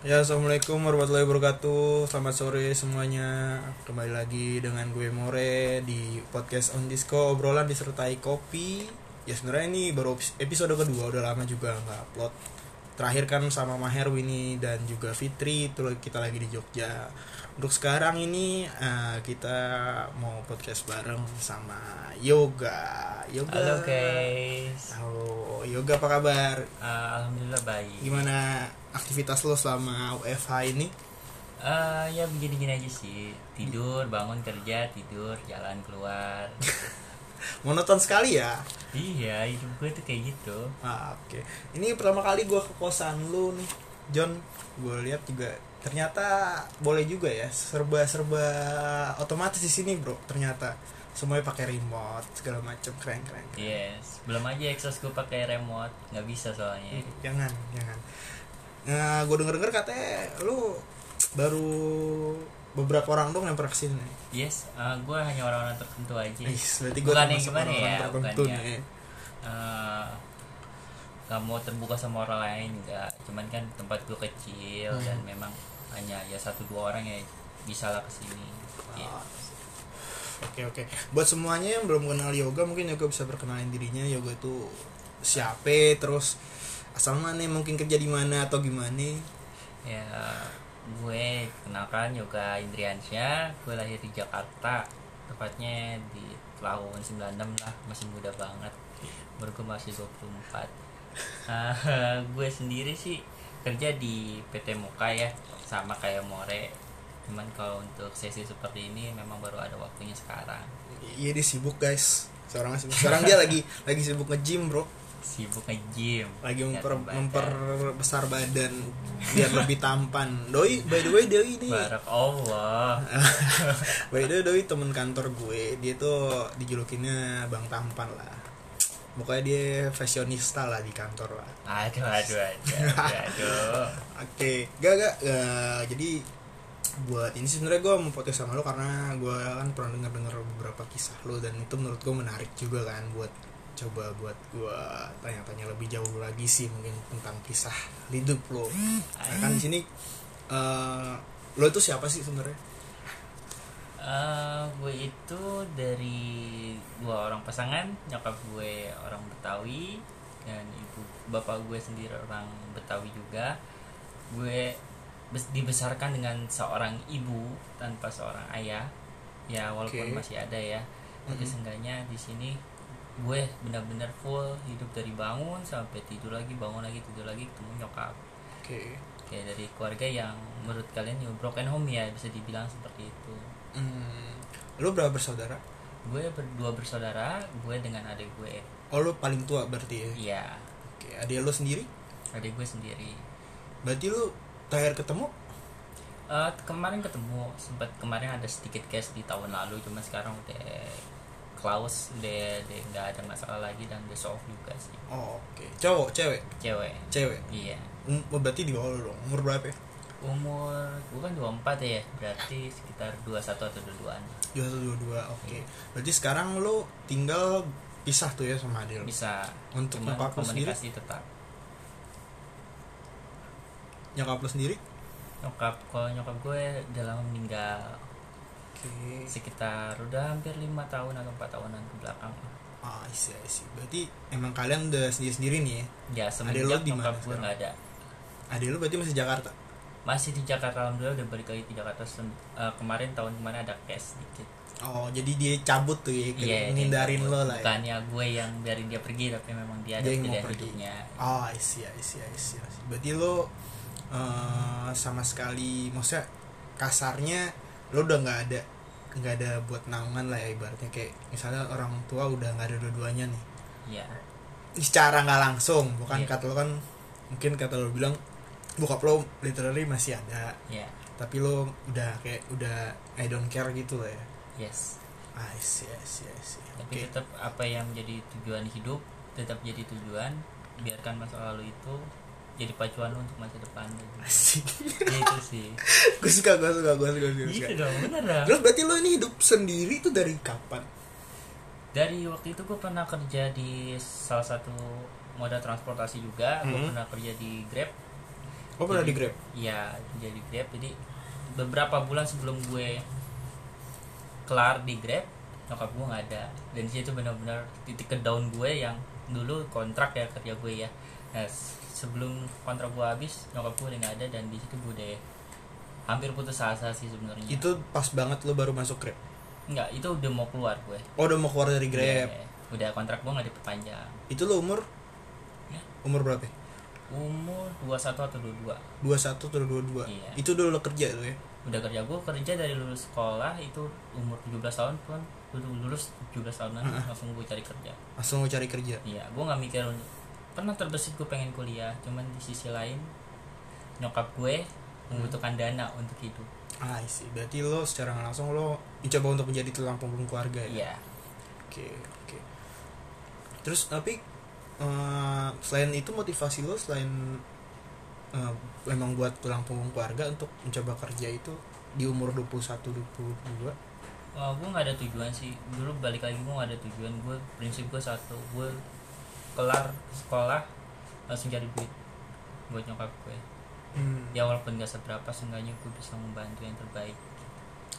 Ya, assalamualaikum warahmatullahi wabarakatuh. Selamat sore semuanya. Kembali lagi dengan gue More di podcast On Disco obrolan disertai kopi. Ya sebenarnya ini baru episode kedua, udah lama juga nggak upload. Terakhir kan sama Maher Winnie dan juga Fitri itu kita lagi di Jogja. Untuk sekarang ini eh, kita mau podcast bareng sama Yoga. Yoga. Halo guys, Halo, Yoga apa kabar? Eh, alhamdulillah baik. Gimana aktivitas lo selama WFH ini? Eh, ya begini-gini aja sih, tidur, bangun kerja, tidur, jalan keluar. Monoton sekali ya. iya, hidup gue tuh kayak gitu. Ah, oke. Ini pertama kali gua ke kosan lu nih, John. Gue lihat juga ternyata boleh juga ya serba-serba otomatis di sini, Bro. Ternyata semuanya pakai remote segala macam keren-keren. Yes, belum aja exhaust gue pakai remote, nggak bisa soalnya. Jangan, jangan. Nah, gue denger-denger katanya lu baru beberapa orang dong yang pernah kesini. Yes, eh, gue hanya orang-orang tertentu aja. Ih, berarti gue Bukannya termasuk Iya. gimana orang-orang ya, tertentu bukannya. nih. Eh, Gak mau terbuka sama orang lain, nggak. Cuman kan tempat gue kecil Hmm. dan memang hanya ya satu dua orang yang bisa lah kesini. Iya. Ah. Oke oke. Buat semuanya yang belum kenal yoga mungkin yoga bisa perkenalin dirinya. Yoga itu siapa terus asal mana mungkin kerja di mana atau gimana? Ya, gue kenalkan Yoga Indriansyah. Gue lahir di Jakarta, tepatnya di tahun 96 lah, masih muda banget. Umur gue masih 24. Ah, gue sendiri sih kerja di PT Muka ya, sama kayak More. Cuman kalau untuk sesi seperti ini memang baru ada waktunya sekarang. Iya dia sibuk guys. Seorang sibuk. Sekarang dia lagi lagi sibuk nge-gym, Bro. Sibuk nge-gym. Lagi Lihat memper, badan. memperbesar badan biar lebih tampan. Doi, by the way Doi ini Barak Allah. By the way, Doi temen kantor gue Dia tuh dijulukinnya Bang Tampan lah Pokoknya dia fashionista lah di kantor lah Aduh, aduh, aduh, aduh, aduh. Oke, gak gak eh, jadi buat ini sih sebenarnya gue mau podcast sama lo karena gue kan pernah denger dengar beberapa kisah lo dan itu menurut gue menarik juga kan buat coba buat gue tanya-tanya lebih jauh lagi sih mungkin tentang kisah hidup lo. Nah, kan di sini eh, lo itu siapa sih sebenarnya? Eh, gue itu dari dua orang pasangan nyokap gue orang Betawi dan ibu bapak gue sendiri orang Betawi juga gue bes- dibesarkan dengan seorang ibu tanpa seorang ayah ya Oke. walaupun masih ada ya tapi Mm-mm. seenggaknya di sini gue benar-benar full hidup dari bangun sampai tidur lagi bangun lagi tidur lagi ketemu nyokap Oke. kayak dari keluarga yang menurut kalian ya broken home ya bisa dibilang seperti itu Hmm, lo berapa bersaudara? gue berdua bersaudara gue dengan adik gue Oh lo paling tua berarti ya? iya Oke, adik lo sendiri? adik gue sendiri Berarti lo terakhir ketemu? Eh, kemarin ketemu sempat kemarin ada sedikit case di tahun lalu cuma sekarang udah close udah udah nggak ada masalah lagi dan udah solve juga sih Oh, Oke, cowok, cewek, cewek cewek. iya Um, oh, berarti di bawah lo dong. Umur berapa ya? umur gue kan 24 ya berarti sekitar 21 atau 22an 21, 22. Oke. Berarti sekarang lo tinggal pisah tuh ya sama Adil. bisa Untuk cuman nyokap lo sendiri, komunikasi tetap nyokap lo sendiri? nyokap kalau nyokap gue udah lama meninggal Oke. sekitar udah hampir lima tahun atau empat tahunan ke belakang Ah, isi, isi. Berarti emang kalian udah sendiri-sendiri nih ya? ya lo semenjak di mana nyokap gue sekarang? nggak ada Adil lo berarti masih Jakarta? masih di Jakarta alhamdulillah udah balik lagi di Jakarta Sem- eh, kemarin tahun kemarin ada cash dikit Oh, jadi dia cabut tuh ya? ke- Iya, dia Menghindarin cabut. lo lah ya? bukannya gue yang biarin dia pergi tapi memang dia ada Dia yang mau pilihan pergi. hidupnya Oh, I see, I see, I see, I see. Berarti lo eh, sama sekali, maksudnya kasarnya lo udah nggak ada nggak ada buat naungan lah ya ibaratnya kayak misalnya orang tua udah nggak ada dua-duanya nih ya secara nggak langsung bukan Iya. kata lo kan mungkin kata lo bilang bokap lo literally masih ada ya tapi lo udah kayak udah I don't care gitu lah ya yes I see I see I see oke tapi gitu. tetap apa yang menjadi tujuan hidup tetap jadi tujuan biarkan masa lalu itu jadi pacuan lu untuk masa depan lu. asik Ya, itu sih gue suka gue suka gue suka gue suka gitu dong bener dong terus berarti lo ini hidup sendiri tuh dari kapan dari waktu itu gue pernah kerja di salah satu moda transportasi juga gue Mhm. pernah kerja di Grab Oh, pernah Jadi- di Grab? Iya jadi Grab jadi beberapa bulan sebelum gue kelar di Grab nyokap gue nggak ada dan di situ benar-benar titik ke down gue yang dulu kontrak ya kerja gue ya nah s- sebelum kontrak gue habis nyokap gue udah nggak ada dan di situ gue udah hampir putus asa sih sebenarnya Itu pas banget lo baru masuk Grab. nggak itu udah mau keluar gue Oh, udah mau keluar dari Grab. Iya, udah kontrak gue nggak diperpanjang Itu lo umur Ya. umur berapa? ya? umur 21 atau 22 21 atau 22. Iya. Itu dulu lo kerja lo ya. udah kerja gue kerja dari lulus sekolah itu umur 17 tahun pun gue dulu lulus 17 tahunan langsung gue cari kerja Langsung mau cari kerja. iya gue nggak mikir pernah terbesit gue pengen kuliah cuman di sisi lain nyokap gue membutuhkan dana untuk hidup Ah, sih. Berarti lo secara nggak langsung lo mencoba untuk menjadi tulang punggung keluarga ya. iya Oke, oke. Terus tapi eh, selain itu motivasi lo selain eh, memang buat tulang punggung keluarga untuk mencoba kerja itu di umur 21 22. Wah, gue Oh, nggak ada tujuan sih dulu balik lagi gue nggak ada tujuan gue prinsip gue satu gue kelar sekolah langsung cari duit buat nyokap gue Hmm. ya walaupun gak seberapa seenggaknya gue bisa membantu yang terbaik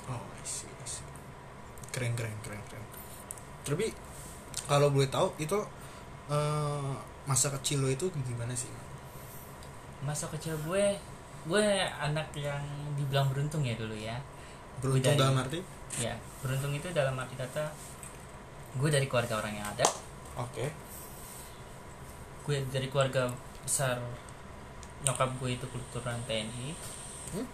Oh, I see, I see. Keren, keren, keren, keren. Tapi kalau boleh tahu itu eh, masa kecil lo itu gimana sih? masa kecil gue gue anak yang dibilang beruntung ya dulu ya Beruntung Dari- dalam arti? ya beruntung itu dalam arti kata gue dari keluarga orang yang ada Oke. gue dari keluarga besar nyokap gue itu keturunan TNI Hmm?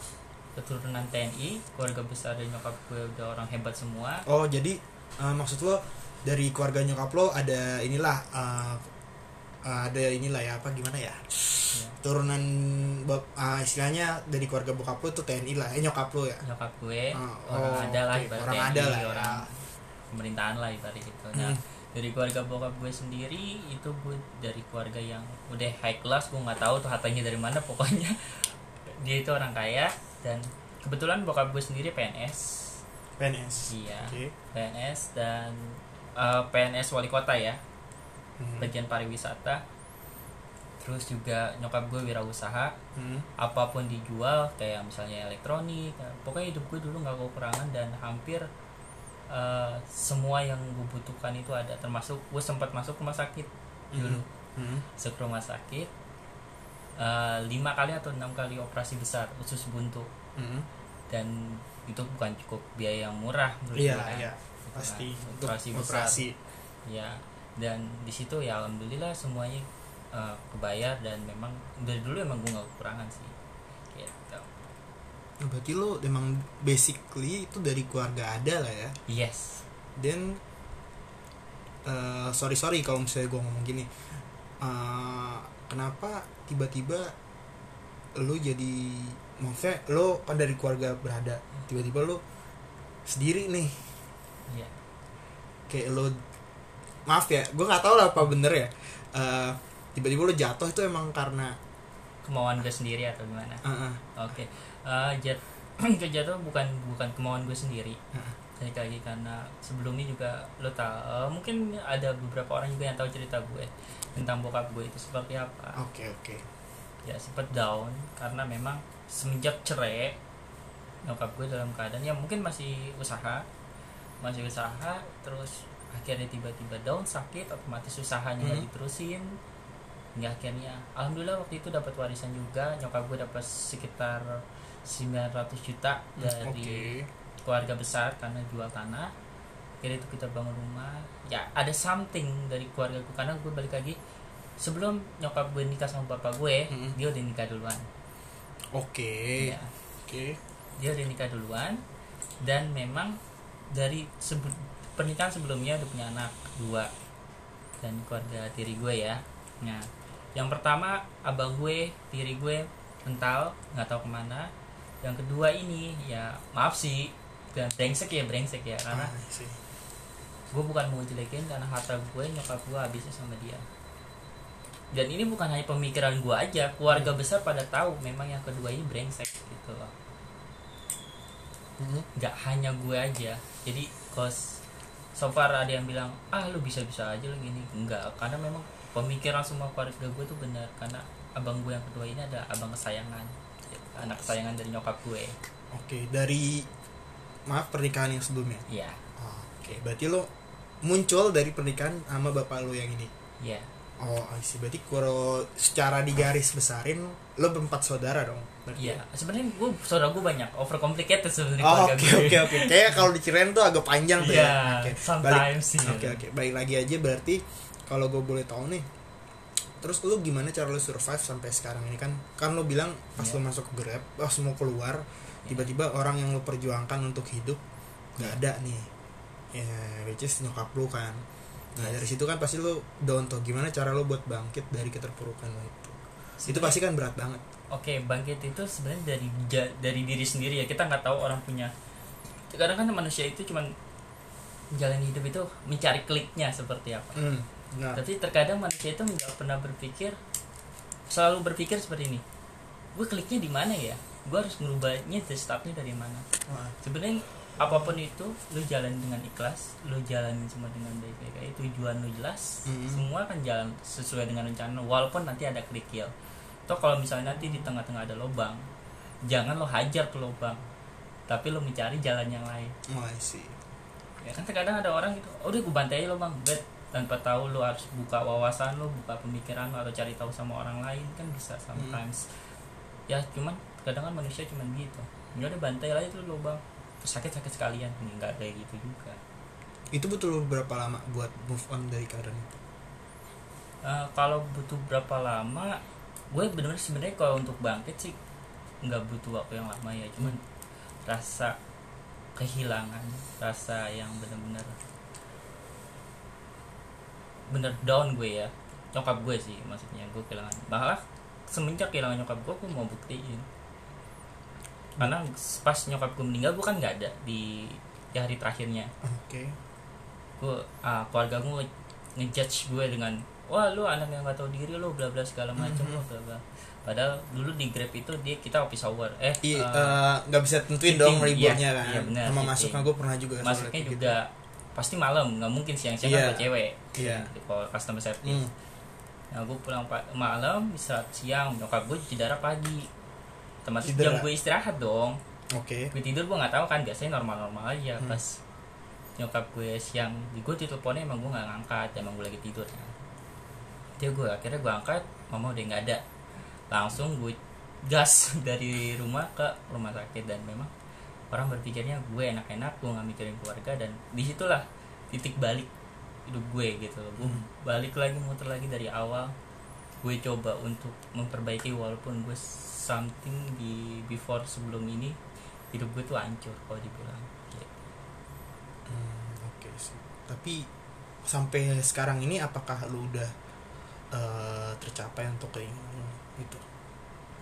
keturunan TNI keluarga besar dan nyokap gue udah orang hebat semua Oh, jadi eh, maksud lo dari keluarga nyokap lo ada inilah eh, eh, ada inilah ya apa gimana ya? Turunan bap- eh, istilahnya dari keluarga bokap lo itu TNI lah, eh nyokap lo ya. nyokap gue Ah, orang oh, ada lah oke, ibarat orang TNI, ada lah ya. orang pemerintahan lah ibarat gitu nah Hmm. dari keluarga bokap gue sendiri itu gue dari keluarga yang udah high class gue nggak tahu tuh hartanya dari mana pokoknya dia itu orang kaya dan kebetulan bokap gue sendiri PNS PNS. iya Oke. PNS dan eh, PNS wali kota ya Hmm. bagian pariwisata terus juga nyokap gue wirausaha Hmm. apapun dijual kayak misalnya elektronik pokoknya hidup gue dulu nggak kekurangan dan hampir eh, semua yang gue butuhkan itu ada termasuk gue sempat masuk rumah sakit dulu Hmm. masuk rumah sakit eh, lima kali atau enam kali operasi besar usus buntu Hmm. dan itu bukan cukup biaya yang murah menurut Iya, gue, kan. iya. Gitu kan. Pasti untuk operasi besar operasi. ya dan di situ ya alhamdulillah semuanya eh, kebayar dan memang dari dulu emang gue nggak kekurangan sih gitu Nah, berarti lo emang basically itu dari keluarga ada lah ya. yes Dan eh, sorry sorry kalau misalnya gue ngomong gini, Eh, kenapa tiba-tiba lo jadi maksudnya lo kan dari keluarga berada, tiba-tiba lo sendiri nih ya kayak lo maaf ya gue nggak tahu lah apa bener ya Eh, tiba-tiba lo jatuh itu emang karena kemauan gue sendiri atau gimana eh, eh, oke Eh, jat kejatuh bukan bukan kemauan gue sendiri Heeh. balik lagi karena sebelumnya juga lo tau eh, mungkin ada beberapa orang juga yang tahu cerita gue tentang bokap gue itu seperti apa oke oke ya sempat down karena memang semenjak cerai nyokap gue dalam keadaan ya mungkin masih usaha masih usaha terus akhirnya tiba-tiba down sakit otomatis usahanya nggak Mhm. diterusin hingga akhirnya alhamdulillah waktu itu dapat warisan juga nyokap gue dapat sekitar 900 juta dari Hmm, oke keluarga besar karena jual tanah akhirnya itu kita bangun rumah ya ada something dari keluarga gue karena gue balik lagi sebelum nyokap gue nikah sama bapak gue Mm-mm. dia udah nikah duluan oke Ya, oke dia udah nikah duluan dan memang dari sebe- pernikahan sebelumnya udah punya anak dua dan keluarga tiri gue ya nah yang pertama abang gue tiri gue mental nggak tahu kemana yang kedua ini ya maaf sih dan brengsek ya brengsek ya karena Ah, sih. gue bukan mau jelekin karena harta gue nyokap gue habisnya sama dia dan ini bukan hanya pemikiran gue aja keluarga besar pada tahu memang yang kedua ini brengsek gitu loh Mhm. nggak hanya gue aja jadi kos so far ada yang bilang ah lu bisa bisa aja lu gini enggak karena memang pemikiran semua keluarga gue tuh benar karena abang gue yang kedua ini ada abang kesayangan anak kesayangan dari nyokap gue Oke, dari maaf pernikahan yang sebelumnya. iya Oke, berarti lo muncul dari pernikahan sama bapak lo yang ini. iya Oh, I see. Berarti kalau secara digaris besarin lo berempat saudara dong. berarti? ya? iya sebenarnya gue saudara gue banyak overcomplicated sebenarnya Oh, keluarga oke gue. oke oke. Kayak kalau diceritain tuh agak panjang tuh Iya, ya. Oke, balik- sometimes sih. ya. Oke oke, baik lagi aja berarti kalau gue boleh tahu nih. Terus lu gimana cara lu survive sampai sekarang ini kan? Kan lu bilang pas Iya. lu masuk ke Grab, pas mau keluar, tiba-tiba orang yang lu perjuangkan untuk hidup nggak ada nih. Ya, which is nyokap lu kan. Nah, dari situ kan pasti lu down tuh. Gimana cara lu buat bangkit dari keterpurukan lu itu? Itu pasti kan berat banget. Oke, bangkit itu sebenarnya dari ja- dari diri sendiri ya. Kita nggak tahu orang punya. Kadang kan manusia itu cuman jalan hidup itu mencari kliknya seperti apa. Hmm. Nah, Tapi terkadang manusia itu nggak pernah berpikir selalu berpikir seperti ini. Gue kliknya di mana ya? Gue harus merubahnya dari startnya dari mana? Sebenarnya apapun itu lu jalan dengan ikhlas, lu jalanin semua dengan baik-baik aja. Tujuan lu jelas, Mhm. semua kan jalan sesuai dengan rencana walaupun nanti ada kerikil. Toh kalau misalnya nanti di tengah-tengah ada lubang, jangan lo hajar ke lubang. Tapi lo mencari jalan yang lain. oh, I see. Ya kan terkadang ada orang gitu, udah gue bantai aja lubang, bet tanpa tahu lo harus buka wawasan lo, buka pemikiran lo atau cari tahu sama orang lain kan bisa sometimes. Ya cuman kadang kan manusia cuman gitu. Ya udah bantai aja tuh lubang. Sakit-sakit sekalian, enggak kayak gitu juga. Itu butuh berapa lama buat move on dari keadaan itu? Eh, kalau butuh berapa lama gue bener sebenarnya kalau untuk bangkit sih nggak butuh waktu yang lama ya cuman rasa kehilangan rasa yang bener-bener bener down gue ya nyokap gue sih maksudnya gue kehilangan malah semenjak kehilangan nyokap gue gue mau buktiin karena pas nyokap gue meninggal gue kan nggak ada di di hari terakhirnya Oke. gue ah, keluarga gue ngejudge gue dengan wah lu anak yang gak tahu diri lu bla bla segala macam Mhm. lu bla bla padahal dulu di grab itu dia kita office hour eh Iya, eh, eh, nggak bisa tentuin fitting, dong ribuannya iya, kan. iya, benar, Sama fitting. masuknya gue pernah juga. soal masuknya kayak gitu. juga pasti malam nggak mungkin siang siang Iya. ada cewek Iya. Di call customer service Hmm. nah gue pulang pa- malam istirahat siang nyokap gue cedera pagi termasuk jam Cedera. gue istirahat dong Oke. gue tidur gue nggak tahu kan biasanya normal normal Iya. aja Hmm. pas nyokap gue siang di gue teleponnya emang gue nggak ngangkat emang gue lagi tidur kan. dia gue akhirnya gue angkat mama udah nggak ada langsung gue gas dari rumah ke rumah sakit dan memang orang berpikirnya gue enak-enak gue nggak mikirin keluarga dan disitulah titik balik hidup gue gitu loh gue Hmm. balik lagi muter lagi dari awal gue coba untuk memperbaiki walaupun gue something di before sebelum ini hidup gue tuh hancur kalau dibilang Gitu. Hmm, Oke sih. Tapi sampai sekarang ini apakah lu udah eh, tercapai untuk keinginan lu itu?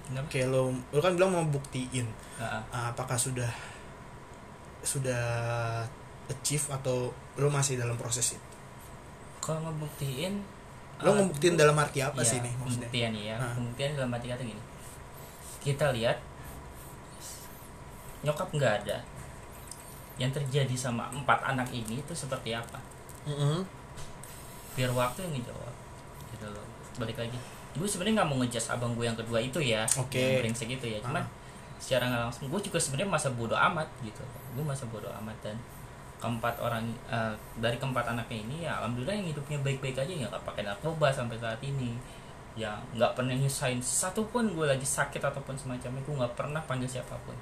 Kenapa? Oke, lu, lu kan bilang mau buktiin Ah, ah. Ah, apakah sudah sudah achieve atau lu masih dalam proses itu? kalau ngebuktiin Lu ah, ngebuktiin gue- dalam arti apa Iya, sih nih maksudnya? pembuktian ya Ah. pembuktian dalam arti kata gini kita lihat nyokap nggak ada yang terjadi sama empat anak ini itu seperti apa Mm-mm. biar waktu yang ngejawab gitu loh balik lagi gue sebenarnya nggak mau ngejas abang gue yang kedua itu ya Oke. yang brengsek itu ya cuman Ah. secara nggak langsung gue juga sebenarnya masa bodoh amat gitu gue masa bodoh amat dan keempat orang eh, dari keempat anaknya ini ya alhamdulillah yang hidupnya baik-baik aja ya nggak pakai narkoba sampai saat ini ya nggak pernah nyusahin satupun gue lagi sakit ataupun semacamnya gue nggak pernah panggil siapapun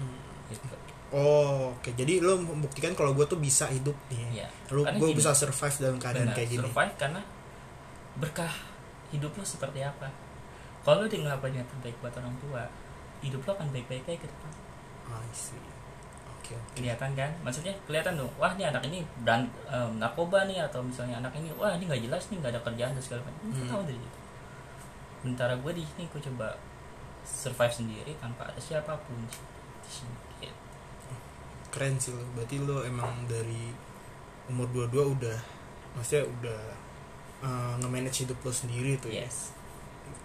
Hmm. gitu Oh, oke. Jadi lo membuktikan kalau gue tuh bisa hidup nih. ya Lu Karena gue gini. bisa survive dalam keadaan Benar, kayak gini. survive karena berkah hidup lo seperti apa kalau lo tinggal apa yang terbaik buat orang tua hidup lo akan baik-baik aja ke depan Ah, I see. Oke, oke. kelihatan kan maksudnya kelihatan dong wah ini anak ini dan em, narkoba nih atau misalnya anak ini wah ini nggak jelas nih nggak ada kerjaan dan segala macam Lo Hmm. tahu dari situ sementara gue di sini gue coba survive sendiri tanpa ada siapapun di sini Gitu. Keren sih lo. Berarti lo emang dari umur 22 udah maksudnya udah eh, nge-manage hidup lo sendiri tuh ya. yes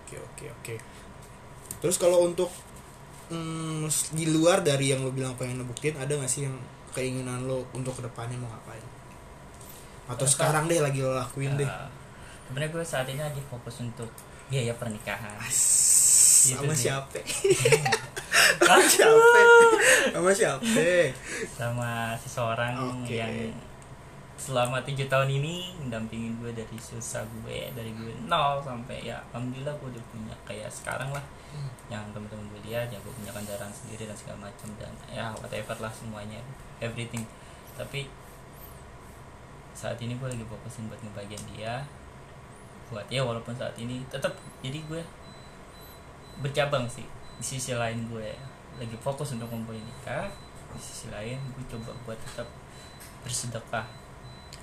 Oke, oke, oke. Terus kalau untuk mm, di luar dari yang lo bilang pengen lo buktiin ada gak sih yang keinginan lo untuk kedepannya mau ngapain? Atau Eh, sekarang deh lagi lo lakuin deh. Eh, sebenarnya gue saat ini lagi fokus untuk biaya pernikahan Gitu sama sih. siapa Ah, sama siapa sama siapa sama seseorang Oke. yang selama tujuh tahun ini mendampingin gue dari susah gue dari gue nol sampai ya alhamdulillah gue udah punya kayak sekarang lah yang temen-temen gue lihat yang gue punya kendaraan sendiri dan segala macam dan ya whatever lah semuanya everything tapi saat ini gue lagi fokusin buat ngebagian dia buat ya walaupun saat ini tetap jadi gue bercabang sih di sisi lain gue lagi fokus untuk ngumpulin nikah di sisi lain gue coba buat tetap bersedekah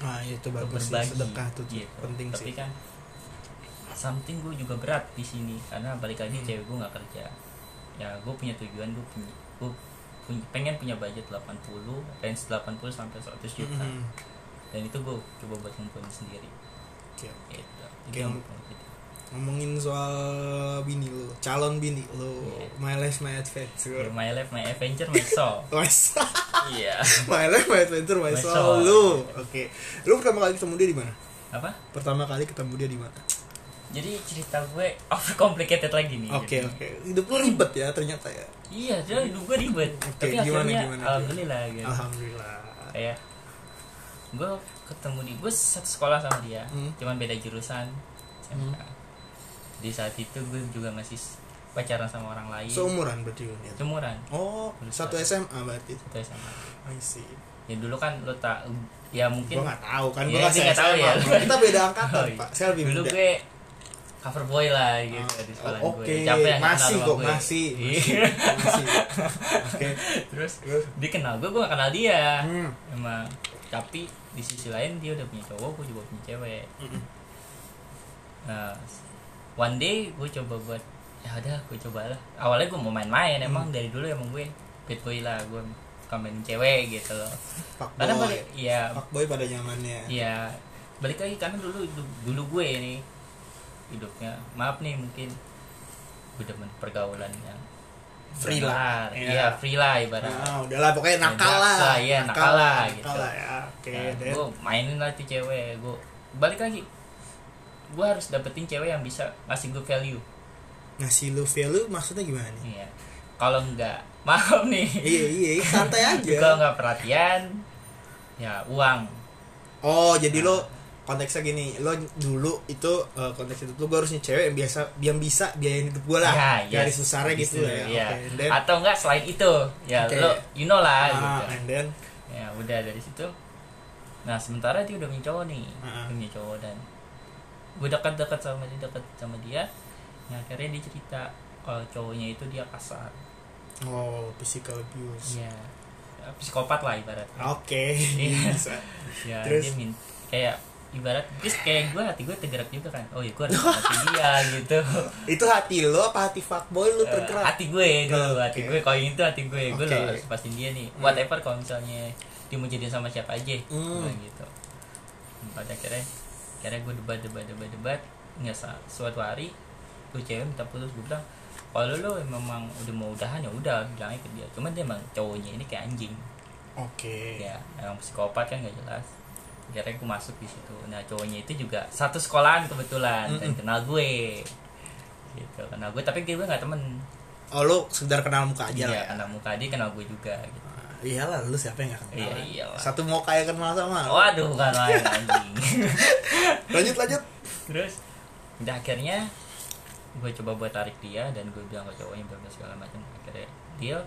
ah itu atau bagus sih, berbagi sedekah tuh gitu. penting tapi sih kan something gue juga berat di sini karena balik lagi Hmm. cewek gue nggak kerja ya gue punya tujuan gue punya gue punya- pengen punya budget 80 range 80 sampai 100 juta Mhm. dan itu gue coba buat ngumpulin sendiri Oke. gitu Oke. Itu yang gua gitu. ngomongin soal bini lu calon bini lu Iya. my life my adventure You're my life my adventure my soul Wes, iya my life my adventure my My soul soul. lu oke lu pertama kali ketemu dia di mana apa pertama kali ketemu dia di mana jadi cerita gue overcomplicated lagi nih oke jadi. oke hidup lu ribet ya ternyata ya iya jadi hidup gue ribet Oke, tapi gimana, akhirnya gimana, alhamdulillah gitu alhamdulillah kayak gue ketemu di gue satu sekolah sama dia Hmm. cuman beda jurusan SMK. di saat itu gue juga masih s- pacaran sama orang lain seumuran berarti lu ya? cemuran oh Lulusan. satu SMA berarti satu SMA I see gitu ya dulu kan lo tak ya mungkin gue nggak tahu kan gue Iya, kasih dia nggak tahu SMA ya. Bro. kita beda angkatan Oh, iya. pak saya lebih dulu muda gue cover boy lah gitu Ah, di sekolah oke gue capek masih ya, kenal sama kok gue. masih masih Iya. masih. oke terus terus dia kenal gue gue gak kenal dia hmm. emang tapi di sisi lain dia udah punya cowok gue juga punya cewek Nah, one day gue coba buat ya udah gue cobalah awalnya gue mau main-main emang Hmm. dari dulu emang gue bad boy lah gue komen cewek gitu loh pak karena boy balik ya pak boy pada zamannya ya balik lagi karena dulu dulu gue nih hidupnya maaf nih mungkin gue demen pergaulan yang Free lah. benar. Iya. iya free lah ibaratnya nah udahlah pokoknya nakal lah biasa, iya, nakal lah, gitu. nakal lah ya oke Nah, Dad. gue mainin lah tuh cewek gue balik lagi gue harus dapetin cewek yang bisa ngasih gue value ngasih ya lu value maksudnya gimana nih Iya. Kalau nggak maaf nih. iya iya iya, santai Kalau aja nggak perhatian, ya uang. oh jadi Nah. lo konteksnya gini lo dulu itu eh, konteks itu tuh gue harusnya cewek yang biasa yang bisa biayain hidup gue lah Ya, dari yes. susahnya gitu ya Iya. oke and then Atau nggak selain itu, ya Oke. lo you know ah, lah. gitu. and then Ya udah dari situ. Nah sementara dia udah punya cowok nih, Ah. Dia punya cowok dan gue dekat-dekat sama dia, dekat sama dia. Nah akhirnya dia cerita kalau cowoknya itu dia kasar, oh physical abuse ya psikopat lah ibaratnya. oke Iya. Bisa. ya Ah, Terus? dia min- kayak ibarat terus kayak gue hati gue tergerak juga kan oh iya gue harus hati dia gitu itu hati lo apa hati fuckboy lo Eh, tergerak hati gue Oh, dulu hati oke. gue kalau yang itu hati gue gue Oke. loh harus pastiin dia nih Hmm. whatever kalau misalnya dia mau jadi sama siapa aja Hmm. Gua gitu Hmm, pada akhirnya akhirnya gue debat debat debat debat nggak sa- suatu hari tuh cewek minta putus gue bilang kalau lo memang udah mau udahan ya udah bilangnya ke dia cuman dia emang cowoknya ini kayak anjing oke ya emang psikopat kan gak jelas akhirnya gue masuk di situ nah cowoknya itu juga satu sekolahan kebetulan dan Mm-mm. kenal gue gitu kenal gue tapi gue nggak temen oh lo sekedar kenal muka aja dia lah ya kenal muka dia kenal gue juga gitu Ah, iyalah lu siapa yang gak kenal Iya, lah. iyalah. satu mau kayak kenal sama lu. waduh bukan main anjing lanjut lanjut terus udah akhirnya gue coba buat tarik dia dan gue bilang ke cowoknya berbagai segala macam akhirnya deal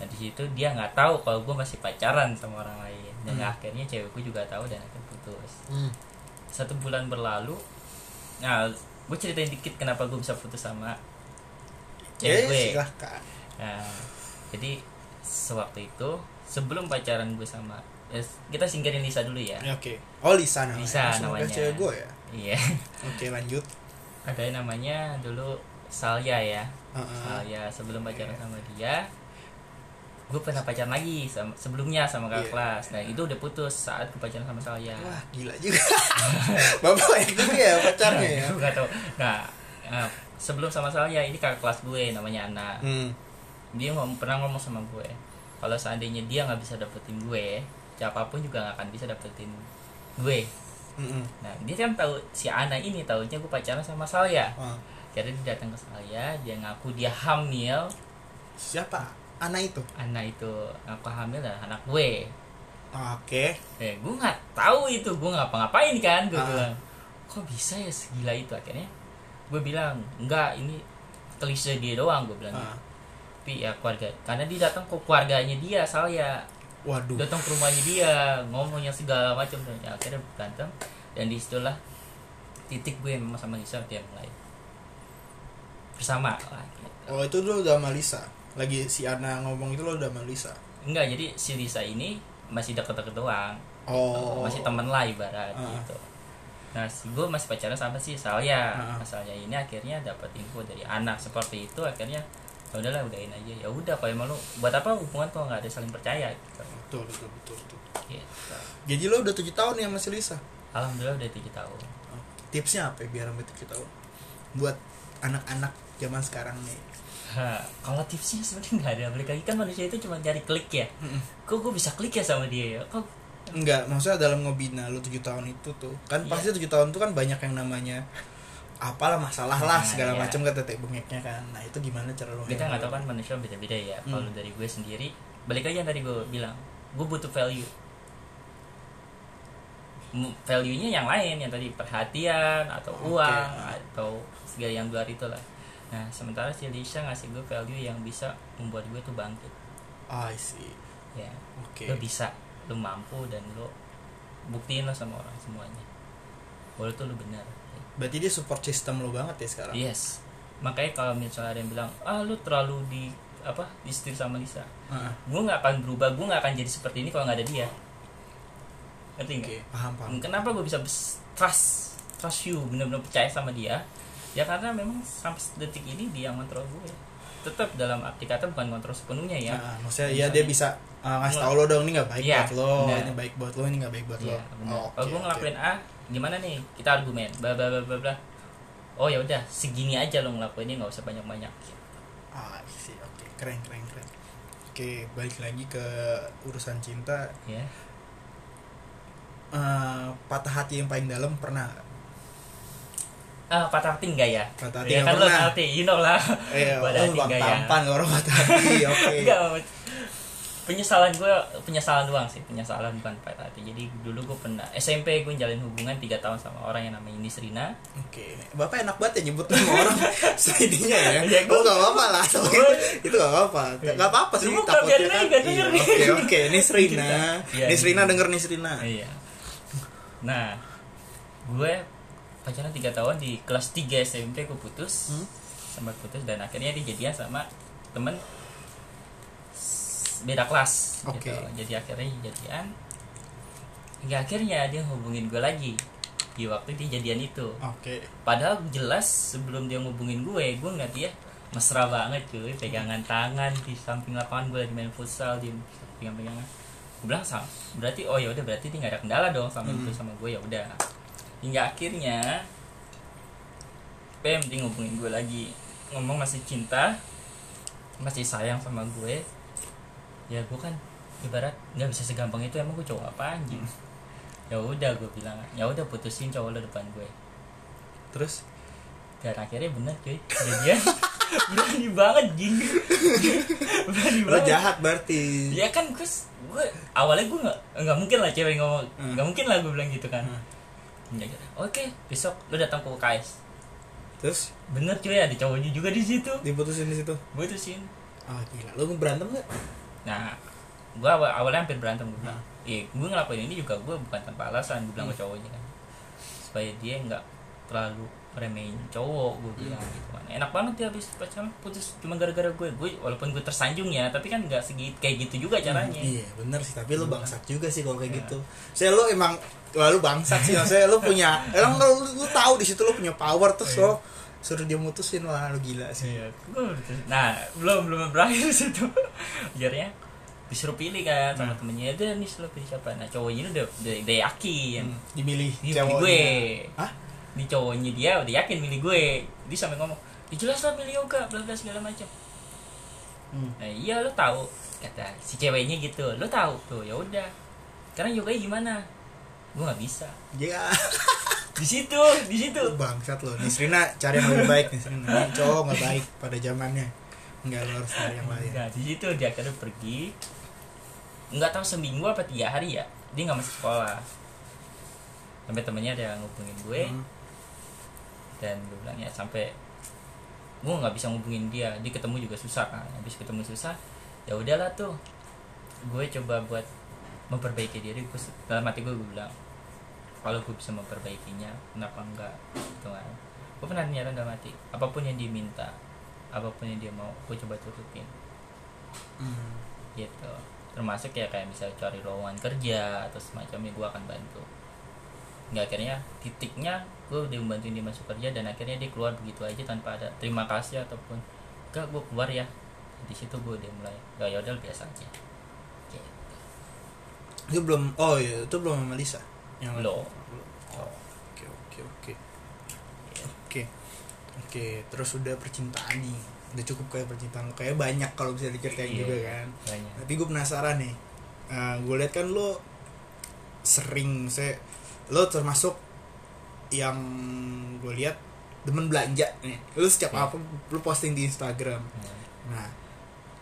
dan di situ dia nggak tahu kalau gue masih pacaran sama orang lain dan Hmm. akhirnya cewek gue juga tahu dan akhirnya putus satu bulan berlalu nah gue ceritain dikit kenapa gue bisa putus sama ya cewek gue silahkan Nah, jadi sewaktu itu sebelum pacaran gue sama eh, kita singkirin Lisa dulu ya Ya, oke oh Lisa namanya Lisa Semoga namanya. cewek gue ya iya oke lanjut ada yang namanya dulu Salya ya Heeh. Salya sebelum pacaran Iya. sama dia gue pernah pacaran lagi sama, sebelumnya sama kakak Iya. kelas dan itu udah putus saat gue pacaran sama Salya wah gila juga bapak itu ya pacarnya ya Gua nggak tahu. nah eh, sebelum sama Salya ini kakak kelas gue namanya Ana hmm. dia ngom pernah ngomong sama gue kalau seandainya dia nggak bisa dapetin gue siapapun juga nggak akan bisa dapetin gue Mm-mm. nah dia kan tahu si Ana ini tahunya gue pacaran sama Salya Wah, jadi dia datang ke Salya dia ngaku dia hamil siapa anak itu Ana itu ngaku hamil dan anak gue Ah, oke eh gue nggak tahu itu gue ngapa-ngapain kan gue Ah. bilang kok bisa ya segila itu akhirnya gue bilang enggak ini klise dia doang gue bilang Ah, tapi ya keluarga karena dia datang ke keluarganya dia Salya waduh datang ke rumahnya dia ngomongnya segala macam dan akhirnya berantem dan disitulah titik gue memang sama Lisa dia mulai bersama lah, gitu. oh itu lo udah sama Lisa lagi si Ana ngomong itu lo udah sama Lisa enggak jadi si Lisa ini masih deket-deket doang oh masih temen lah ibarat Ah. gitu nah si gue masih pacaran sama si Salya Ah. Nah, Salya ini akhirnya dapat info dari anak seperti itu akhirnya ya udahlah udahin aja ya udah kalau emang lu buat apa hubungan kalau nggak ada saling percaya gitu, betul betul betul, betul. Gitu. jadi lo udah tujuh tahun ya sama si Lisa alhamdulillah udah tiga tahun tipsnya apa ya biar sampai tujuh tahun buat anak-anak zaman sekarang nih Ha, kalau tipsnya sebenarnya nggak ada balik lagi kan manusia itu cuma cari klik ya Mm-mm. kok gue bisa klik ya sama dia ya kok Enggak, maksudnya dalam ngebina lu tujuh tahun itu tuh kan Iya. pasti tujuh tahun tuh kan banyak yang namanya apalah masalah lah Nah, segala iya. macam kata tetek bengeknya kan nah itu gimana cara lu kita nggak handle? tahu kan manusia beda-beda ya Hmm. kalau dari gue sendiri balik lagi yang tadi gue bilang gue butuh value M- value-nya yang lain yang tadi perhatian atau Oke. uang atau segala yang luar itu lah nah sementara si Lisa ngasih gue value yang bisa membuat gue tuh bangkit Ah, I see ya oke lo bisa lo mampu dan lo buktiin lah sama orang semuanya walau tuh lo benar berarti dia support system lu banget ya sekarang yes makanya kalau misalnya ada yang bilang ah lo terlalu di apa di setir sama Lisa Ah, gue nggak akan berubah gue nggak akan jadi seperti ini kalau nggak ada dia oke ngerti nggak paham paham kenapa gue bisa bes- trust trust you benar-benar percaya sama dia ya karena memang sampai detik ini dia yang ngontrol gue tetap dalam arti kata bukan ngontrol sepenuhnya ya Ah, maksudnya ya dia Misalnya- bisa ah, ngasih tau lo dong ini nggak baik Iya, buat lo benar. ini baik buat lo ini nggak baik buat Iya, lo benar. Oh, Kalau oke, gue oke. ngelakuin A, gimana nih? Kita argumen, bla bla bla bla bla. Oh ya udah, segini aja lo ngelakuinnya nggak usah banyak banyak. Ah, I see. oke keren keren keren oke balik lagi ke urusan cinta Ya, Eh, patah hati yang paling dalam pernah nggak? ah patah hati nggak ya? patah hati Ya yang kan pernah lo patah hati, you know lah. eh Patah orang hati bang nggak ya? tampan orang patah hati oke Nggak, penyesalan gue penyesalan doang sih penyesalan bukan patah hati jadi dulu gue pernah SMP gue jalin hubungan 3 tahun sama orang yang namanya Nisrina oke bapak enak banget ya nyebut nama orang segininya ya Iya, gua- oh nggak apa-apa lah so, Gua- Iya. itu nggak apa-apa nggak apa-apa sih Lu bukan, takutnya biarin kan aja, nggak denger Iya, nih. oke oke ini Srina Iya, ini iya. Srina denger nih Srina iya nah gue pacaran 3 tahun di kelas 3 SMP gue putus Hmm? sempat putus dan akhirnya dia jadian sama temen s- beda kelas Oke. gitu jadi akhirnya jadian hingga akhirnya dia hubungin gue lagi di waktu dia jadian itu oke padahal jelas sebelum dia ngubungin gue gue ngeliat dia mesra banget cuy pegangan tangan di samping lapangan gue lagi main futsal di pegang pegangan gue bilang "Sam, berarti oh ya udah berarti dia nggak ada kendala dong sama Hmm. itu sama gue ya udah hingga akhirnya pem dia ngubungin gue lagi ngomong masih cinta masih sayang sama gue ya gue kan ibarat nggak bisa segampang itu emang gue cowok apa anjing ya udah gue bilang ya udah putusin cowok lo depan gue terus dan akhirnya bener cuy jadian berani banget jing berani lo banget jahat berarti ya kan gue gue awalnya gue nggak nggak mungkin lah cewek ngomong Hmm. nggak mungkin lah gue bilang gitu kan Hmm. Ya, gitu. oke besok lo datang ke UKS terus bener cuy ada cowoknya juga di situ diputusin di situ gue tuh sih ah gila lo berantem nggak nah gue awal, awalnya hampir berantem gue bilang iya gue ngelakuin ini juga gue bukan tanpa alasan gue Iya. bilang ke cowoknya kan supaya dia nggak terlalu meremehin cowok Iya. gue bilang gitu kan enak banget dia habis pacaran putus cuma gara-gara gue gue walaupun gue tersanjung ya tapi kan nggak segit kayak gitu juga caranya Hmm. Iya bener sih tapi lu bangsat juga sih kalau kayak Iya. gitu. Saya lu emang wah, lu bangsat sih maksudnya lu punya emang lu, lu, lu tahu di situ lu punya power terus lo suruh dia mutusin wah lu gila sih. Iya, gue udah- nah belum belum berakhir situ akhirnya disuruh pilih kan Nah. sama temennya dia nih disuruh pilih siapa nah cowoknya ini udah udah, udah yakin Hmm, Dimilih Ini cowoknya. gue. Hah? di cowoknya dia udah yakin milih gue dia sampai ngomong ya jelas lah milih yoga bla bla segala macam Hmm. nah iya lo tahu kata si ceweknya gitu lo tahu tuh ya udah sekarang yoganya gimana gue nggak bisa Ya, di situ di situ bangsat lo. Nisrina cari yang lebih baik Nisrina. Ini cowok nggak baik pada zamannya. Enggak lo harus cari yang lain. nah di situ dia akhirnya pergi nggak tahu seminggu apa tiga hari ya dia nggak masuk sekolah sampai temennya ada yang ngubungin gue Hmm. dan gue bilang ya sampai gue nggak bisa ngubungin dia dia ketemu juga susah kan habis ketemu susah ya udahlah tuh gue coba buat memperbaiki diri gue se- dalam hati gue gue bilang kalau gue bisa memperbaikinya kenapa enggak gitu kan gue pernah niatan dalam hati apapun yang diminta apapun yang dia mau gue coba turutin Hmm. gitu termasuk ya kayak misalnya cari lowongan kerja atau semacamnya gue akan bantu nggak akhirnya titiknya gue udah membantuin dia masuk kerja dan akhirnya dia keluar begitu aja tanpa ada terima kasih ataupun enggak gue keluar ya di situ gue udah mulai ya ya udah biasa aja Oke. Itu belum oh iya, itu belum sama Lisa. Yang Belum. Oh, oke oke oke. Oke. Oke, terus udah percintaan nih. Udah cukup kayak percintaan lo. Kayak banyak kalau bisa diceritain Iya. juga kan. banyak Tapi gue penasaran nih. gue lihat kan lo sering saya lo termasuk yang gue lihat demen belanja nih. Lo setiap Iya. apa lo posting di Instagram. Hmm. Nah,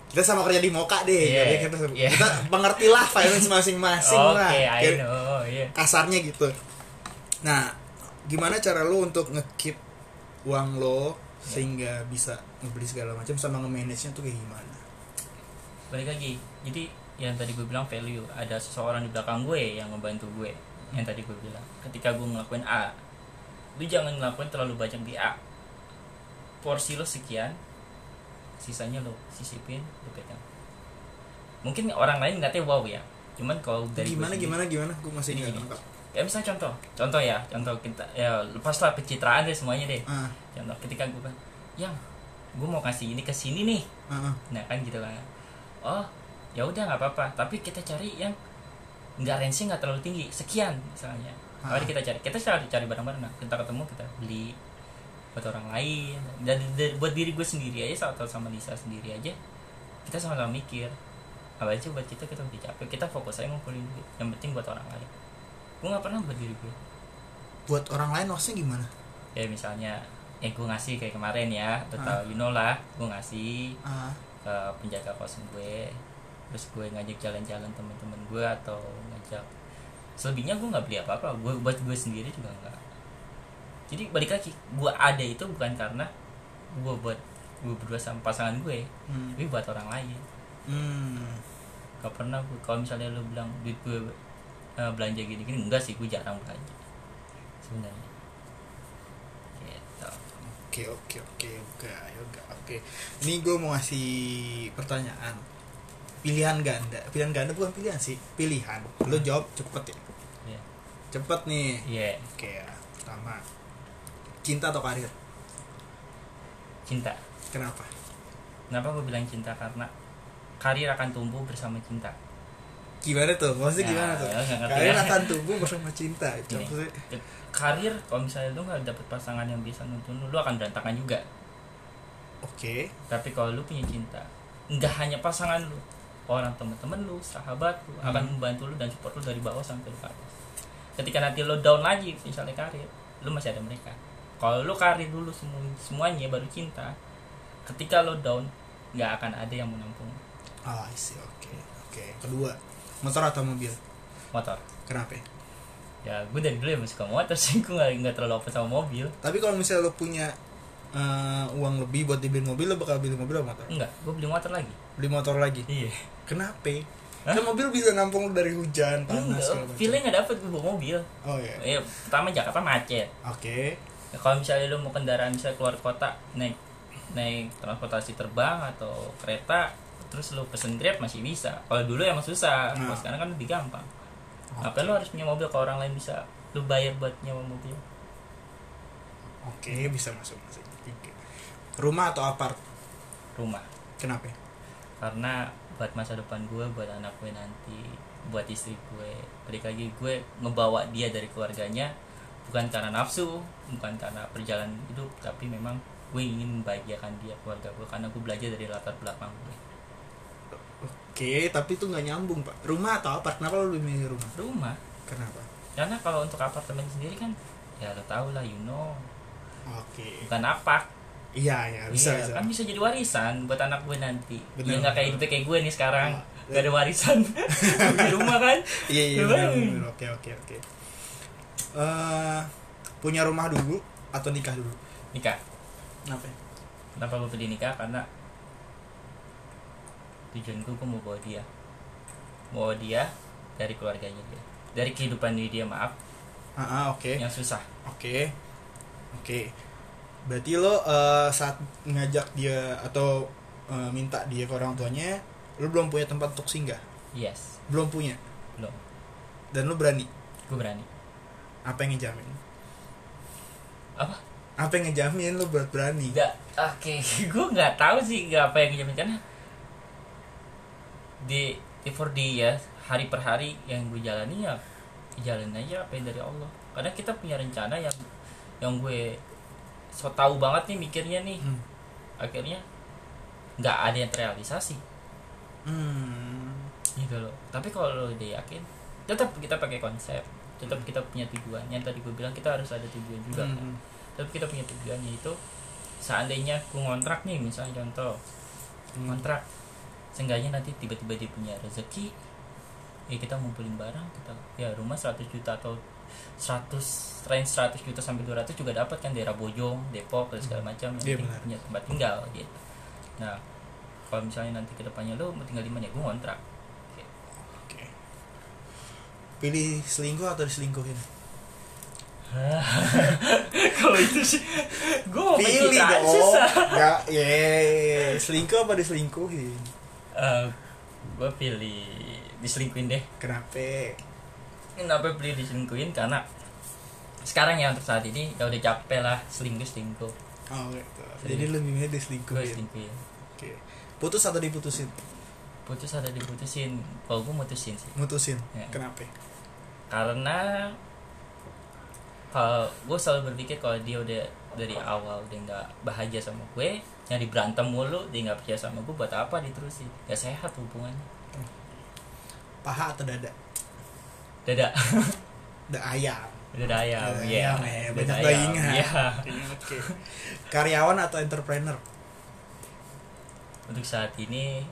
kita sama kerja di Moka deh. Iya. Jadi Kita, Iya. kita mengertilah finance masing-masing oke lah. I Kayak know iya Kasarnya gitu. Nah, gimana cara lo untuk ngekeep uang lo sehingga Iya. bisa ngebeli segala macam sama nge-manage-nya tuh kayak gimana? balik lagi jadi yang tadi gue bilang value ada seseorang di belakang gue yang membantu gue yang tadi gue bilang ketika gue ngelakuin A lu jangan ngelakuin terlalu banyak di A porsi lo sekian sisanya lo sisipin lo pegang mungkin orang lain ngeliatnya wow ya cuman kalau dari gue gimana sendiri- Iya. gimana gimana gue masih Gini, nggak gini. nangkap kayak misalnya contoh contoh ya contoh kita ya lepaslah pencitraan deh semuanya deh ah contoh ketika gue bilang yang gue mau kasih ini ke sini nih ah ah. nah kan gitu kan oh ya udah nggak apa-apa tapi kita cari yang nggak range nggak terlalu tinggi sekian misalnya Ah. mari kita cari kita cari cari barang-barang nah, kita ketemu kita beli buat orang lain dan dan buat diri gue sendiri aja atau sama Lisa sendiri aja kita sama-sama mikir apa aja buat kita kita udah capek kita fokus aja ngumpulin duit yang penting buat orang lain gue nggak pernah buat diri gue buat orang lain maksudnya gimana ya misalnya eh gue ngasih kayak kemarin ya total you know lah gue ngasih ah ke eh, penjaga kosan gue terus gue ngajak jalan-jalan teman-teman gue atau ngajak selebihnya gue nggak beli apa-apa gue buat gue sendiri juga nggak jadi balik lagi gue ada itu bukan karena gue buat gue berdua sama pasangan gue hmm. tapi buat orang lain hmm. gak pernah gue kalau misalnya lo bilang duit gue eh, belanja gini-gini enggak sih gue jarang belanja sebenarnya gitu oke oke oke yoga yoga oke ini gue mau ngasih pertanyaan pilihan ganda pilihan ganda bukan pilihan sih pilihan lo jawab cepet ya Hmm. Iya. cepet nih iya oke ya. pertama cinta atau karir cinta kenapa kenapa gue bilang cinta karena karir akan tumbuh bersama cinta gimana tuh maksudnya Ya, gimana tuh lo nggak ngerti Iya. karir ya. akan tumbuh bersama cinta gitu, Maksudnya- karir kalau misalnya lu nggak dapet pasangan yang bisa nuntun lu, lu akan berantakan juga oke tapi kalau lu punya cinta nggak hanya pasangan lu orang temen-temen lu sahabat lu akan Hmm. membantu lu dan support lu dari bawah sampai lu ke atas ketika nanti lu down lagi misalnya karir lu masih ada mereka kalau lu karir dulu semu- semuanya baru cinta ketika lu down nggak akan ada yang menampung ah I see. oke oke kedua motor atau mobil motor kenapa ya? ya gue dari dulu emang suka motor sih gue nggak nggak terlalu apa sama mobil Tapi kalau misalnya lo punya eh, uang lebih buat dibeli mobil, lo bakal beli mobil atau motor? enggak gue beli motor lagi Beli motor lagi. iya Kenapa? Hah? Iya, Kan mobil bisa nampung lo dari hujan, panas, segala Enggak, macam. feelnya nggak dapet gue bawa mobil Oh iya. ya pertama Jakarta macet Oke. Ya, kalau misalnya lu mau kendaraan bisa keluar kota naik naik transportasi terbang atau kereta terus lu pesen grab masih bisa kalau dulu emang susah kalau Nah. sekarang kan lebih gampang Oke. apa lu harus punya mobil kalau orang lain bisa lu bayar buat nyewa mobil Oke, bisa masuk masuk. Oke. Rumah atau apart? rumah Kenapa? karena buat masa depan gue buat anak gue nanti buat istri gue balik lagi gue ngebawa dia dari keluarganya bukan karena nafsu bukan karena perjalanan hidup tapi memang gue ingin membahagiakan dia keluarga gue karena gue belajar dari latar belakang gue Oke, tapi itu nggak nyambung pak. Rumah atau apart? Kenapa lo lebih milih rumah? rumah Kenapa? karena kalau untuk apartemen sendiri kan ya lo tau lah you know Oke. bukan apa Iya, ya, bisa Iya, bisa. kan bisa jadi warisan buat anak gue nanti Bener. ya nggak kayak hidup kayak gue nih sekarang Ah, gak ada warisan di rumah kan Iya, iya, Coba. benar, benar. Oke, oke, oke. Eh, punya rumah dulu atau nikah dulu? nikah Kenapa? kenapa gue pilih nikah karena tujuan gue gue mau bawa dia mau bawa dia dari keluarganya dia dari kehidupan dia maaf Ah, ah, oke. yang susah Oke. Oke. Berarti lo eh, saat ngajak dia atau eh, minta dia ke orang tuanya, lo belum punya tempat untuk singgah, yes belum punya belum dan lo berani. gue berani Apa yang ngejamin? Apa? Apa yang ngejamin lo buat berani? Nggak, oke gue nggak tahu sih nggak apa yang dijamin karena di for day ya hari per hari yang gue jalani ya jalan aja apa yang dari Allah karena kita punya rencana yang yang gue so tahu banget nih mikirnya nih Hmm. akhirnya nggak ada yang terrealisasi Hmm. gitu loh tapi kalau dia yakin tetap kita pakai konsep tetap kita punya tujuan yang tadi gue bilang kita harus ada tujuan juga kan? Hmm. tapi kita punya tujuan yaitu seandainya aku ngontrak nih misalnya contoh Hmm. ngontrak seenggaknya nanti tiba-tiba dia punya rezeki ya kita ngumpulin barang kita ya rumah 100 juta atau 100 range 100 juta sampai 200 juga dapat kan daerah Bojong Depok dan segala macam Iya, Yang penting benar. punya tempat tinggal gitu nah kalau misalnya nanti kedepannya lo mau tinggal di mana ya gue ngontrak Oke. Pilih selingkuh atau diselingkuhin? kalau itu sih gue mau Pilih pencitraan dong. susah Ya, ye. Selingkuh apa diselingkuhin? gue Eh, pilih diselingkuin deh Kenapa? kenapa beli diselingkuhin karena sekarang ya untuk saat ini ya udah capek lah selingkuh selingkuh Oh, gitu. Jadi lebih milih gue diselingkuhin. selingkuhin Oke. Putus atau diputusin? putus ada diputusin kalau gue mutusin sih Mutusin. Ya. Kenapa? karena kalau gue selalu berpikir kalau dia udah dari awal udah nggak bahagia sama gue yang berantem mulu dia nggak percaya sama gue buat apa diterusin nggak sehat hubungannya Paha atau dada? dada Da ayam. dada ayam Dada ya ayam, ya. Banyak bayinya. iya. Oke. Karyawan atau entrepreneur? untuk saat ini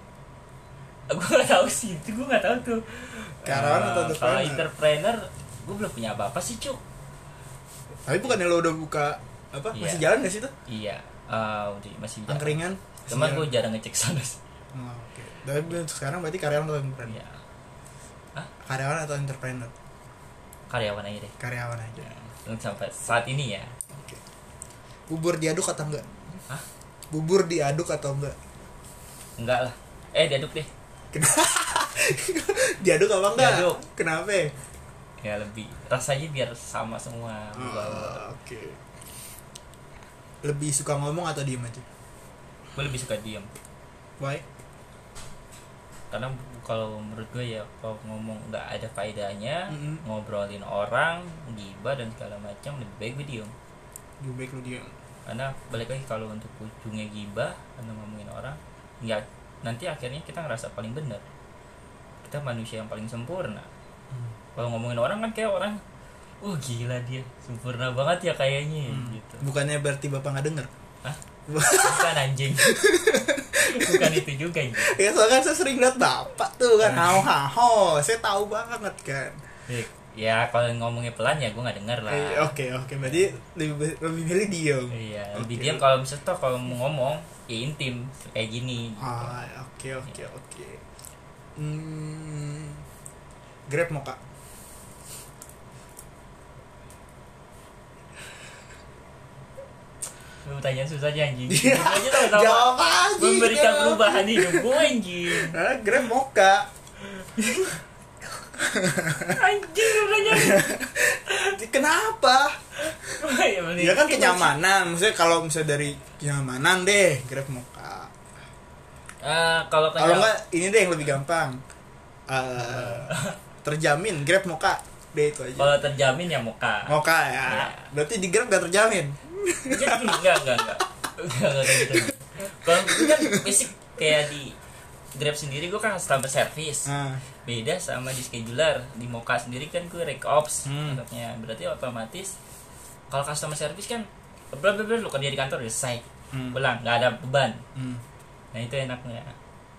gue nggak tahu sih itu gue nggak tahu tuh Karyawan Eh, atau entrepreneur? kalau entrepreneur gue belum punya apa apa sih cuk Tapi bukannya lo udah buka apa? Iya. Masih jalan gak sih tuh? iya eh, udah masih jarang Angkringan? cuman Masih gue jarang ngecek sana sih. jalan. Oh, Oke. Tapi untuk sekarang berarti karyawan atau entrepreneur? Iya, Karyawan atau entrepreneur? karyawan aja deh Karyawan aja. Untuk sampai saat ini ya Bubur diaduk atau enggak? Hah? Bubur diaduk atau enggak? enggak lah eh diaduk deh diaduk apa enggak? Diaduk. Kenapa? ya lebih rasanya biar sama semua Ah, Oke. Lebih suka ngomong atau diem aja? gue lebih suka diem Why? karena kalau menurut gue ya kalau ngomong nggak ada faedahnya Mm-mm. ngobrolin orang gibah dan segala macam lebih baik gue diem Lebih baik lu diem. karena balik lagi kalau untuk ujungnya gibah karena ngomongin orang ya nanti akhirnya kita ngerasa paling benar kita manusia yang paling sempurna Hmm. kalau ngomongin orang kan kayak orang wah gila dia sempurna banget ya kayaknya Hmm. gitu Bukannya berarti bapak nggak denger? bukan anjing bukan itu juga gitu. Ya soalnya kan saya sering liat bapak tuh kan hao Nah. hao, saya tahu banget kan. ya kalau ngomongnya pelan ya gue nggak denger lah Eh, Oke oke, berarti lebih lebih milih diem. iya lebih Oke. diam kalau misalnya toh kalau mau ngomong ya intim kayak gini gitu. Ah oke oke oke. Hmm, grab mau kak? lu tanya susah aja anjing Iya. Gitu aja tau-tau Jawab Iya. aja. memberikan jawab. perubahan hidup gue anjing Ah, grab mau kak? anjing lu nanya Kenapa? ya, bener. Ya kan kenyamanan, maksudnya kalau misalnya dari kenyamanan deh, grab mau kak. Eh, kalau Kalau kenyaman enggak ini deh yang lebih gampang. Eh, terjamin Grab Moka deh itu aja. kalau terjamin ya muka Moka ya. Iya. Berarti di Grab gak terjamin. enggak enggak enggak enggak enggak enggak kayak gitu kalau itu kan basic kayak di Grab sendiri gue kan customer service ah beda sama di scheduler di Moka sendiri kan gue rek ops Hmm. anggapnya. berarti otomatis kalau customer service kan bla bla bla lu kerja di kantor udah selesai hmm, pulang nggak ada beban hmm. nah itu enaknya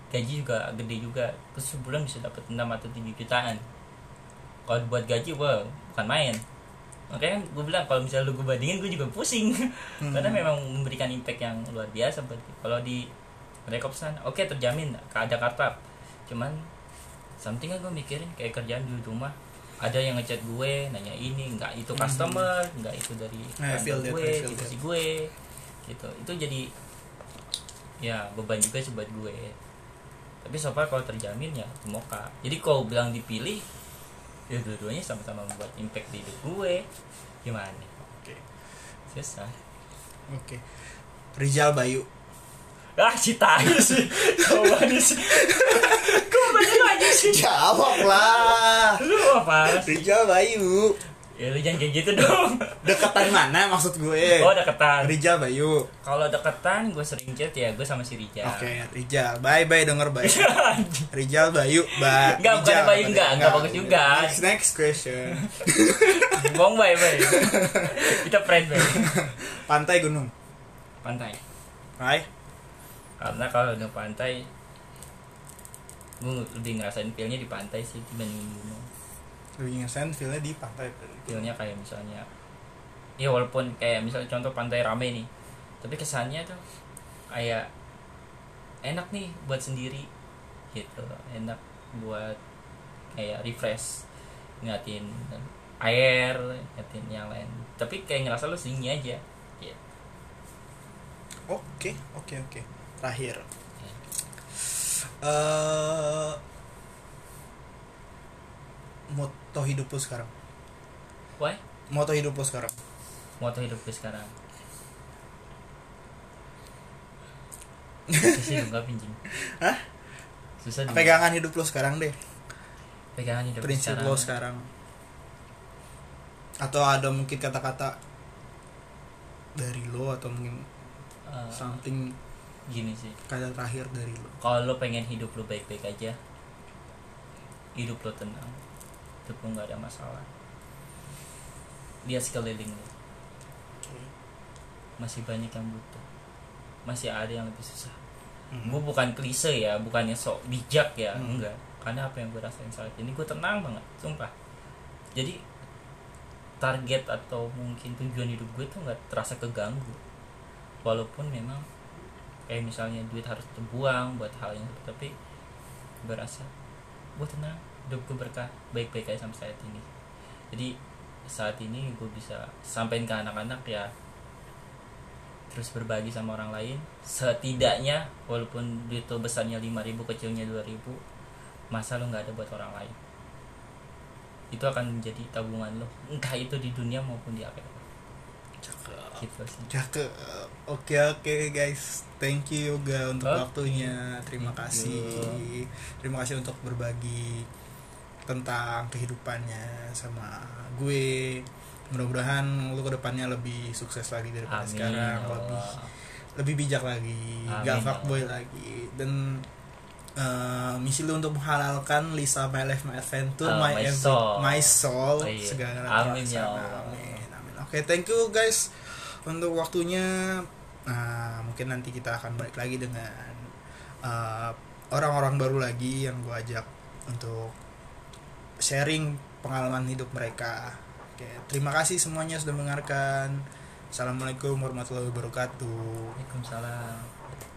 gaji juga gede juga terus sebulan bisa dapat 6 atau 7 jutaan kalau buat gaji wow bukan main makanya gue bilang kalau misalnya lu gue bandingin gue juga pusing Hmm. karena memang memberikan impact yang luar biasa buat gue. kalau di rekopsan oke terjamin ke ada kartap cuman something gue mikirin kayak kerjaan di rumah ada yang ngechat gue nanya ini nggak itu Hmm. customer nggak itu dari I feel kantor that, gue I feel situasi that. gue gitu itu jadi ya beban juga sih buat gue tapi so far kalau terjamin ya ke moka jadi kalau bilang dipilih ya dua-duanya sama-sama membuat impact di hidup gue gimana hmm. oke susah oke Rizal Bayu ah cita aja sih kau manis kau manis aja sih jawab lah lu apa Rizal Bayu ya lu jangan kayak gitu dong deketan mana maksud gue oh deketan Rizal Bayu kalau deketan gue sering chat ya gue sama si Rija oke Rizal bye bye denger bye Rizal Bayu ba Enggak, bukan Rizal, Bayu, apa enggak, dia? enggak bagus juga. next next question bohong bye bye kita friend bye pantai gunung pantai Hai karena kalau di pantai gue lebih ngerasain feelnya di pantai sih dibandingin gunung lu ngerasain feelnya di pantai feelnya kayak misalnya ya walaupun kayak misalnya contoh pantai rame nih tapi kesannya tuh kayak enak nih buat sendiri gitu enak buat kayak refresh ngeliatin air ngeliatin yang lain tapi kayak ngerasa lu sunyi aja oke oke oke terakhir Ya. eh moto hidup lu sekarang why moto hidup lu sekarang moto hidup gue sekarang susah sih gue pinjam Hah? susah juga. pegangan hidup lu sekarang deh pegangan hidup gue prinsip lo sekarang atau ada mungkin kata-kata dari lo atau mungkin Eh, something gini sih kata terakhir dari lo kalau lo pengen hidup lo baik-baik aja hidup lo tenang hidup lo nggak ada masalah lihat sekeliling lo masih banyak yang butuh masih ada yang lebih susah gue bukan klise ya bukannya sok bijak ya Hmm. enggak karena apa yang gue rasain saat ini gue tenang banget sumpah jadi target atau mungkin tujuan hidup gue tuh nggak terasa keganggu walaupun memang kayak misalnya duit harus terbuang buat hal yang tapi gue rasa gue tenang hidup gue berkah baik-baik aja sampai saat ini jadi saat ini gue bisa sampein ke anak-anak ya terus berbagi sama orang lain setidaknya walaupun duit lo besarnya 5000 kecilnya 2000 masa lo nggak ada buat orang lain itu akan menjadi tabungan lo entah itu di dunia maupun di akhirat cakep gitu sih cakep oke oke guys thank you yoga untuk Oke. waktunya terima Thank kasih you. terima kasih untuk berbagi tentang kehidupannya sama gue mudah-mudahan lu kedepannya lebih sukses lagi daripada amin sekarang ya lebih Allah. lebih bijak lagi, Amin, gak ya fuckboy Allah. lagi dan eh, misi lu untuk menghalalkan Lisa My Life My Adventure Oh, My, my Every- soul. My Soul Oh, iya. segala Amin, ya perasaan. Allah. Amin amin. Oke, thank you guys untuk waktunya. Nah, mungkin nanti kita akan balik lagi dengan eh, orang-orang baru lagi yang gua ajak untuk sharing pengalaman hidup mereka. Oke, terima kasih semuanya sudah mendengarkan. Assalamualaikum warahmatullahi wabarakatuh. Waalaikumsalam